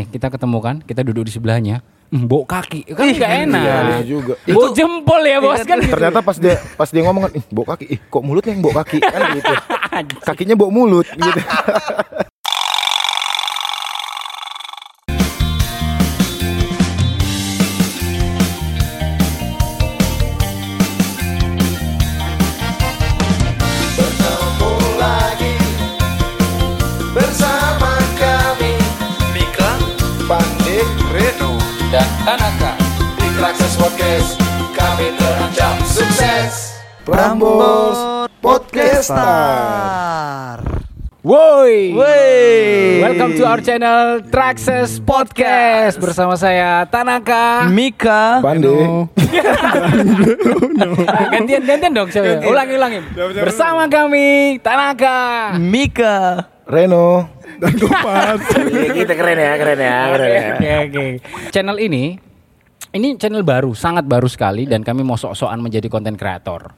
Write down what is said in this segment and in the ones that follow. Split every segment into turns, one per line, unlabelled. Eh, kita ketemukan, kita duduk di sebelahnya. Mbok kaki, kan nggak enak.
Iya iya juga. Ih,
Mbok jempol ya bos kan.
ternyata pas dia pas dia ngomong kan, ih bok kaki, ih kok mulutnya yang bok kaki kan gitu. Kakinya bok mulut gitu.
lagi bersama kami Mika Pandik Reno dan Tanaka di Traxxas Podcast kami terancam sukses
Prambors Podcaster.
Woi. Welcome to our channel Traxxas Podcast bersama saya Tanaka.
Mika
Pandai.
Ah, gantian gantian dong saya. Ulangi ulangi. Bersama kami Tanaka.
Mika
Reno.
kita keren ya keren ya keren ya
Oke oke. Channel ini ini channel baru, sangat baru sekali dan kami mau sok-sokan menjadi konten kreator.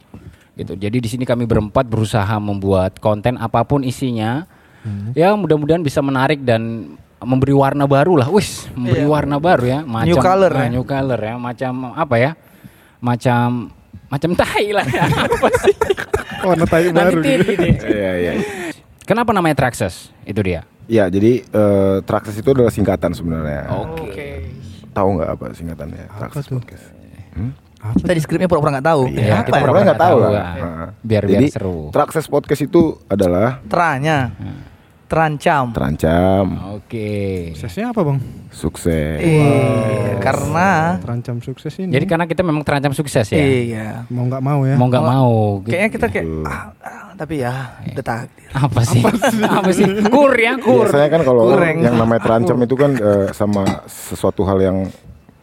Gitu. Jadi di sini kami berempat berusaha membuat konten apapun isinya.
Hmm.
Ya, mudah-mudahan bisa menarik dan memberi warna baru lah. Wis, memberi warna baru ya, macam
Iya. New color
nah,
ya.
new color ya, macam apa ya? Macam macam tai lah. ya. apa sih?
warna tai
Nanti
baru
tit gitu.
Iya iya.
Kenapa namanya Traxxas? Itu dia.
Ya, jadi eh Traxxas itu adalah singkatan sebenarnya. Tahu nggak apa singkatannya? Traxxas
tuh?
Podcast.
Kita di skripnya pura-pura gak tahu
Ya,
Apa
kita
ya?
pura-pura
Orang nggak tahu lah.
lah.
Heeh.
Biar- biar
Jadi,
seru.
Traxxas Podcast itu adalah
Teranya Terancam
terancam
Oke.
suksesnya apa bang
sukses.
Iya Karena
terancam sukses ini
Jadi karena kita memang terancam sukses ya.
Iya
mau nggak mau ya
Mau nggak mau. gitu. Iya.
Kayaknya kita kayak ah, ah, Tapi ya Udah takdir
apa sih? Apa sih? Kur ya, kur.
Biasanya kan kalau
Kureng.
yang namanya terancam itu kan eh, sama sesuatu hal yang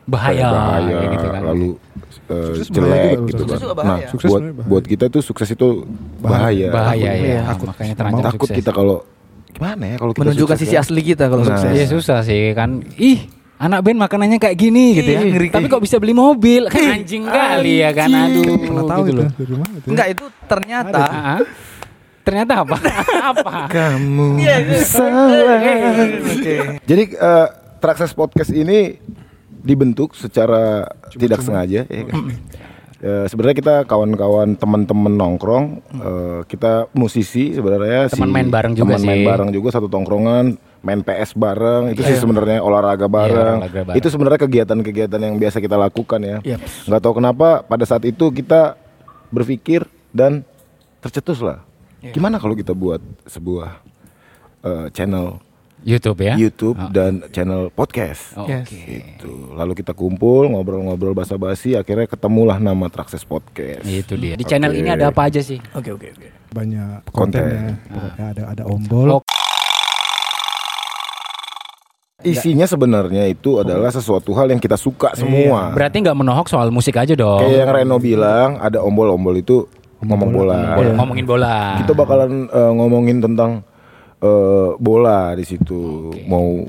Bahaya.
bahaya,
kayak gitu kan.
lalu eh,
Sukses bahaya
jelek
juga,
gitu
sukses
kan.
juga bahaya.
Nah,
Sukses
buat
sebenarnya bahaya.
buat kita tuh sukses itu bahaya.
Bahaya ya.
Iya,
Takut. Makanya terancam
Takut
sukses.
kita kalau gimana ya kalau kita
Menunjukkan
sukses
sisi
ya?
asli kita kalau
Nah.
sukses
Ya susah sih kan. Ih, anak band makanannya kayak gini gitu ya.
Ih, ngeri.
Tapi kok bisa beli mobil? Kan anjing kali ya kan. Aduh.
pernah tahu
gitu
itu
loh.
dari mana itu ya?
Enggak itu ternyata
Ah, ah. Ternyata apa? apa?
Kamu salah.
Oke.
Jadi eh, Traxxas Podcast ini dibentuk secara tidak sengaja ya kan. Eh, sebenarnya kita kawan-kawan teman-teman nongkrong, eh, kita musisi sebenarnya
Teman main bareng juga
teman main
sih. Iya.
bareng juga satu tongkrongan, main PS bareng, itu sih sebenarnya olahraga bareng.
olahraga bareng.
Itu sebenarnya kegiatan-kegiatan yang biasa kita lakukan ya.
Iya.
Yep.
nggak tahu kenapa pada saat itu kita berpikir dan tercetus lah.
Iya.
Gimana kalau kita buat sebuah eh, channel
YouTube ya.
YouTube dan channel podcast.
Oh,
Yes.
Oke.
Gitu. Lalu kita kumpul ngobrol-ngobrol basa-basi akhirnya ketemulah nama Traxxas Podcast.
Itu dia. Di channel
Oke.
ini ada apa aja sih?
Oke oke oke
banyak kontennya Pokoknya ada ada ombol
Lo-
Isinya
Oh.
sebenarnya itu adalah sesuatu hal yang kita suka
Iya,
semua.
Berarti nggak menohok soal musik aja dong.
Kayak yang Reno bilang ada ombol-ombol itu ngomong bola.
Bola- Ngomongin bola.
Kita bakalan eh, ngomongin tentang eh, bola di situ. Mau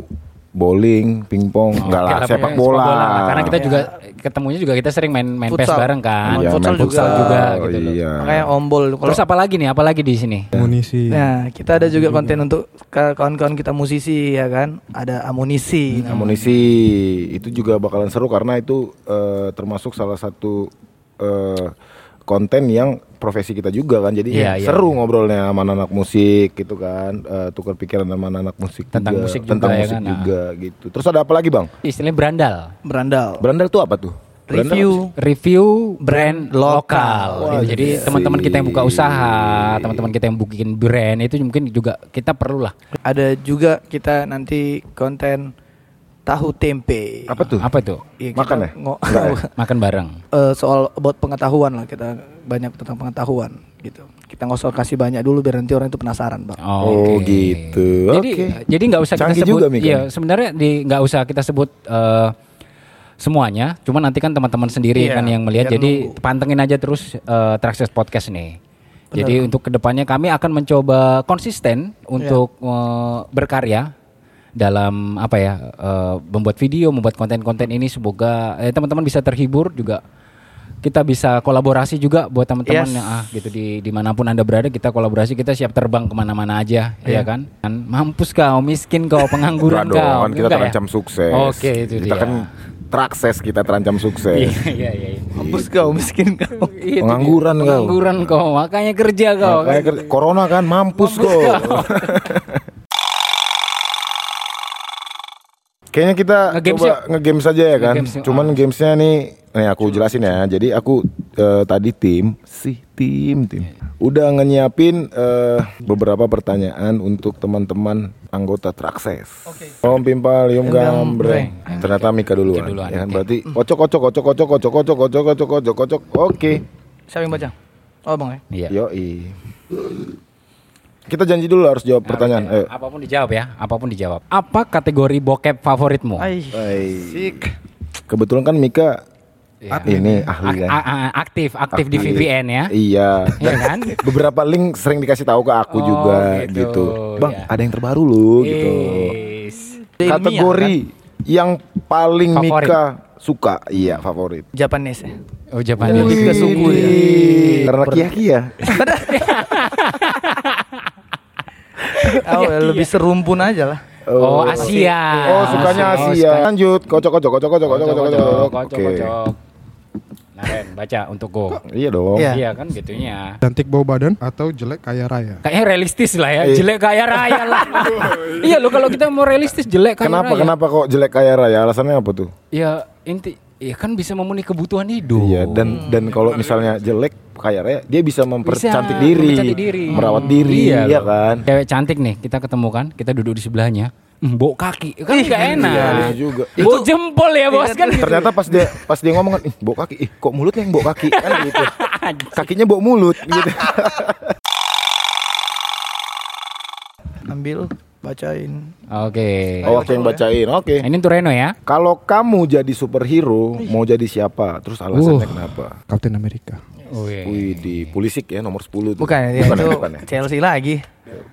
bowling, pingpong, enggak lah,
Oke, tapi
sepak bola.
lah. Karena kita juga ketemunya juga kita sering main main pes
Futsal.
bareng kan.
Iya,
futsal
main
juga.
futsal juga,
gitu loh.
iya.
Makanya ombol kalau
Terus apa lagi nih? Apa lagi di sini?
munisi
Ya.
Nah, kita ada
Iya.
juga konten untuk ke- kawan-kawan kita musisi ya kan. Ada amunisi.
nah.
namanya.
amunisi itu juga bakalan seru karena itu eh, termasuk salah satu eh, konten yang profesi kita juga kan jadi
Iya, iya,
seru ngobrolnya sama anak musik gitu kan Eh, tukar pikiran sama anak musik
Tentang
juga,
musik juga
tentang
ya
musik
kan,
juga gitu terus ada apa lagi bang
Istilahnya berandal.
Berandal.
berandal tuh apa tuh Berandal apa sih?
Review.
Review brand lokal. Gitu.
Wah,
Jadi
iya
teman-teman
sih.
kita yang buka usaha, teman-teman kita yang bikin brand itu mungkin juga kita perlulah.
Ada juga kita nanti konten tahu tempe.
apa tuh
Apa itu?
Ya, kita
makan ya?
ngo-
Enggak ya?
Makan bareng.
Eh, soal buat pengetahuan lah kita banyak tentang pengetahuan gitu. Kita nggak usah kasih banyak dulu biar nanti orang itu penasaran, Bang.
oh
Oke.
gitu
Jadi
oke
jadi nggak usah kita
Canggih
sebut.
juga, kan? Mika. ya?
iya, sebenarnya di nggak usah kita sebut eh, semuanya. Cuma nanti kan teman-teman sendiri
Iya,
kan yang melihat.
biar
Jadi
nunggu.
pantengin aja terus eh, Traxxas Podcast nih. Jadi untuk kedepannya kami akan mencoba konsisten untuk
Iya.
eh, berkarya dalam apa ya eh, membuat video, membuat konten-konten ini semoga eh, teman-teman bisa terhibur juga kita bisa kolaborasi juga buat teman-teman
Yes.
yang ah gitu di dimanapun anda berada kita kolaborasi kita siap terbang kemana-mana aja
Iya.
ya kan Dan mampus kau miskin kau pengangguran
Enggak
kau
dong, kan kita
Enggak ya?
terancam sukses.
oke itu
kita
dia
kan terakses kita terancam sukses.
Iya, iya, iya.
Mampus kau miskin kau.
Itu dia.
Pengangguran Kan kau.
Pengangguran kau, makanya kerja kau.
Nah, kayak ker- corona kan mampus kok. Kayaknya kita
Nge-games
coba
yuk.
nge-games saja ya kan.
Nge-games yuk, Ah.
Cuman gamesnya nih, nih aku jelasin ya. Jadi aku eh, tadi tim, sih tim tim.
Iya,
Udah nyiapin eh, beberapa pertanyaan untuk teman-teman anggota Trakses. Om Pimpal, Yum Gambreng. Ternyata Mika duluan.
Mika duluan,
Ya kan
oke.
berarti kocok kocok kocok kocok kocok kocok kocok kocok kocok kocok. Oke.
Siapa yang baca? Oh bang ya.
Iya.
Yoi. Kita janji dulu harus jawab pertanyaan. Eh, Ayo.
Apapun dijawab ya, apapun dijawab. Apa kategori bokep favoritmu?
Aih.
Hai.
Sik.
Kebetulan kan Mika
Iya.
ini ahli
Ak-
kan.
a- a- aktif, aktif di VPN ya.
Iya.
Iya kan?
Beberapa link sering dikasih tahu ke
Oh,
aku juga
gitu.
gitu. Bang,
Iya.
ada yang terbaru loh gitu.
Yes.
Kategori yang
Iya,
paling
Favorit.
Mika suka, iya favorit.
Japanese. ya?
Oh,
Iya,
jawabannya juga
suku ya.
Wih, Karena kia-kia.
Oh,
Iya.
ya, lebih serumpun aja lah.
Oh, Asia.
Oh, sukanya Asia. Lanjut, kocok kocok kocok kocok kocok kocok.
Kocok-kocok,
kocok. Oke.
kocok-kocok. Nah, Ren, baca untuk go.
Iya dong.
Iya.
Iya kan gitunya.
Cantik bau badan atau jelek kaya raya?
Kayaknya realistis lah ya,
Iya.
jelek kaya raya lah. iya lo kalau kita mau realistis jelek kaya
Kenapa
raya.
kenapa kok jelek kaya raya? Alasannya apa tuh?
Ya inti, ya kan bisa memenuhi kebutuhan hidup.
Iya dan dan kalau misalnya jelek kayak Raya, dia bisa
Hmm.
mempercantik
Bisa,
diri,
mempercantik diri.
merawat diri,
Iya,
iya,
loh.
kan?
Cewek cantik nih kita ketemu kan, kita duduk di sebelahnya, mbok kaki, kan nggak enak.
Iya dia juga. iya. Ih,
Mbok jempol ya bos kan.
ternyata pas dia pas dia ngomong kan, ih bok kaki, ih kok mulutnya yang bok kaki kan gitu. Kakinya bok mulut gitu.
Ambil, bacain.
Oke.
Oh, oke yang bacain. Oke.
Ini untuk Reno ya.
Kalau kamu jadi superhero, mau jadi siapa? Terus
Uh.
alasannya kenapa?
Captain America.
Wih.
Wih, di Pulisic ya nomor 10 tuh.
Bukan, ya,
bukan,
itu
ya, bukan ya.
Chelsea lagi.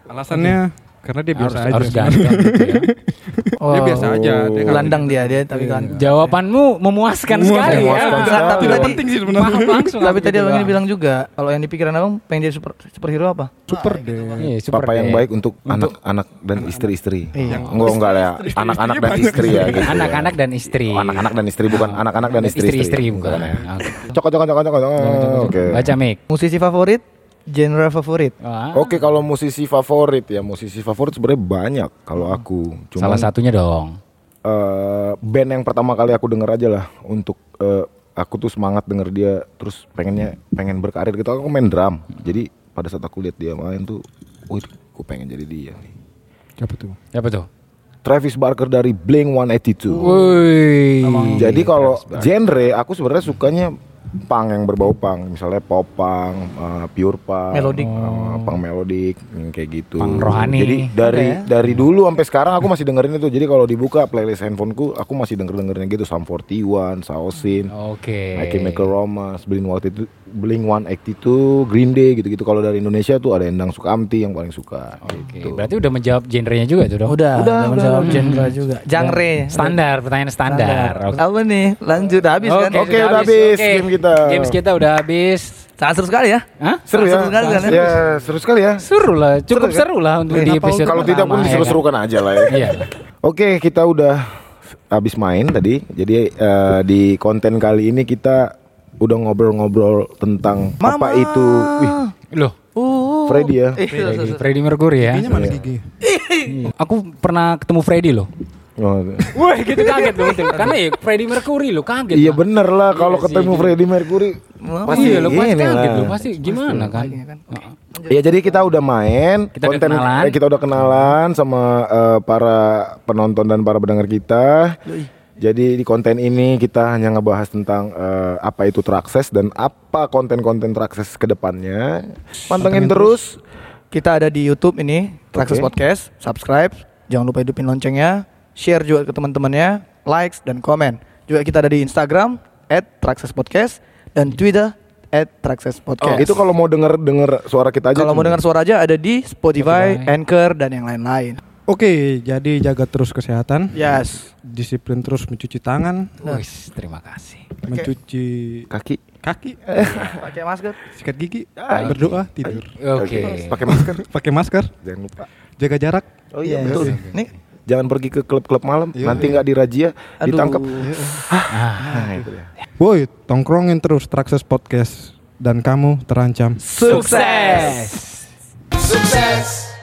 Alasannya karena dia
Harus
biasa Iya, aja.
harus ganteng gitu ya.
Oh,
Dia biasa aja. Dia nggak-
Gelandang
gitu.
dia dia tapi kan.
Iya.
Jawabanmu memuaskan sekali ya.
memuaskan sekali.
tapi
Tidak
tadi
penting sih sebenarnya.
Paham langsung.
tapi
aku
tadi
gitu,
abang ini
Bang.
bilang juga kalau yang di pikiran abang pengen jadi super, superhero apa?
Super deh.
Iya, super
Papa yang
deh.
baik untuk anak-anak dan istri-istri. Enggak enggak lah ya, anak-anak dan istri ya. gitu ya.
Iya. Anak-anak dan istri.
Oh, anak-anak dan istri bukan anak-anak dan istri-istri.
Iya. Ah.
Nah.
Istri-istri Ah. bukan. Oke.
Cokok cokok cokok cokok. Oke.
Baca Mik. Ah.
Musisi favorit, genre favorit.
Wah,
Oke, kalau musisi favorit ya, musisi favorit sebenarnya banyak kalau aku. Cuman
Salah satunya dong.
eh, band yang pertama kali aku denger aja lah untuk eh, aku tuh semangat denger dia terus pengennya pengen berkarir gitu. Aku main drum. Jadi pada saat aku lihat dia main tuh, wih, aku pengen jadi dia nih.
Apa tuh?
Siapa tuh?
Travis Barker dari Blink 182.
Woi.
Hmm, Jadi kalau genre aku sebenarnya sukanya pang yang berbau pang, misalnya pop punk, eh, pure punk,
Melodic.
eh, punk melodic yang kayak gitu.
Punk rohani. ya?
Jadi dari dari dulu sampai sekarang aku masih dengerin itu. Jadi kalau dibuka playlist handphoneku, aku masih denger dengerin gitu Sum 41, Saosin,
Oke.
My Chemical Romance, Blink One itu Blink One itu Green Day gitu-gitu. Kalau dari Indonesia tuh ada Endang Sukamti yang paling suka.
Oke, berarti udah menjawab genrenya juga itu dong.
Udah, udah, menjawab genre juga. Genre.
Standar, pertanyaan standar. Oke.
Apa nih? Lanjut habis kan?
Oke, udah habis
Oke.
game kita.
Games kita udah habis.
Sangat seru sekali ya.
Hah?
Seru ya?
Seru sekali, kan?
Ya, seru sekali ya.
Seru lah, cukup
Seru, kan?
seru, lah untuk di
Kenapa?
episode
Kalau tidak pun
pertama, ya kan?
diseru-serukan aja lah ya.
Iya.
Oke, kita udah habis main tadi. Jadi eh, di konten kali ini kita udah ngobrol-ngobrol tentang apa itu Wih,
Loh,
Uh.
Freddy ya.
Ih, seru, seru,
Freddy,
seru.
Freddy Mercury ya.
Ini mana gigi?
Aku pernah ketemu Freddy loh.
Oh,
Wah, gitu kaget loh betul. Karena ya Freddy Mercury loh, kaget.
iya
lah.
bener lah kalau
Iya sih,
ketemu
gitu.
Freddie Mercury pasti
iya, lo pasti
ini
kaget
lah.
lo pasti gimana kan?
Iya,
Heeh.
Ya jadi kita udah main
Kita udah kenalan.
eh, kita udah kenalan sama eh, para penonton dan para pendengar kita. Jadi di konten ini kita hanya ngebahas tentang eh, apa itu Traxxas dan apa konten-konten Traxxas kedepannya. Pantengin terus.
Kita ada di YouTube ini, Traxxas
Oke.
Podcast, subscribe, jangan lupa hidupin loncengnya, share juga ke teman-temannya, likes dan komen. Juga kita ada di Instagram @traxxaspodcast dan Twitter
Oh,
@traxxaspodcast.
Itu kalau mau denger denger suara kita aja.
Kalau
tuh.
mau dengar suara aja ada di Spotify,
Spotify.
Anchor dan yang lain-lain.
Oke, jadi jaga terus kesehatan,
Iya.
Yes.
disiplin terus mencuci tangan,
Wis, terima kasih.
mencuci
Kaki.
kaki,
Eh.
Pakai masker.
sikat gigi, berdoa, tidur,
Oke.
Pakai masker.
pakai masker,
Jangan lupa.
jaga jarak.
Oh iya
Yes.
betul.
Nih,
Jangan pergi ke klub-klub malam, nanti nggak dirajia,
aduh.
ditangkap. Nah, itu dia.
Woi, tongkrongin terus Traxxas Podcast dan kamu terancam.
Sukses.
Success.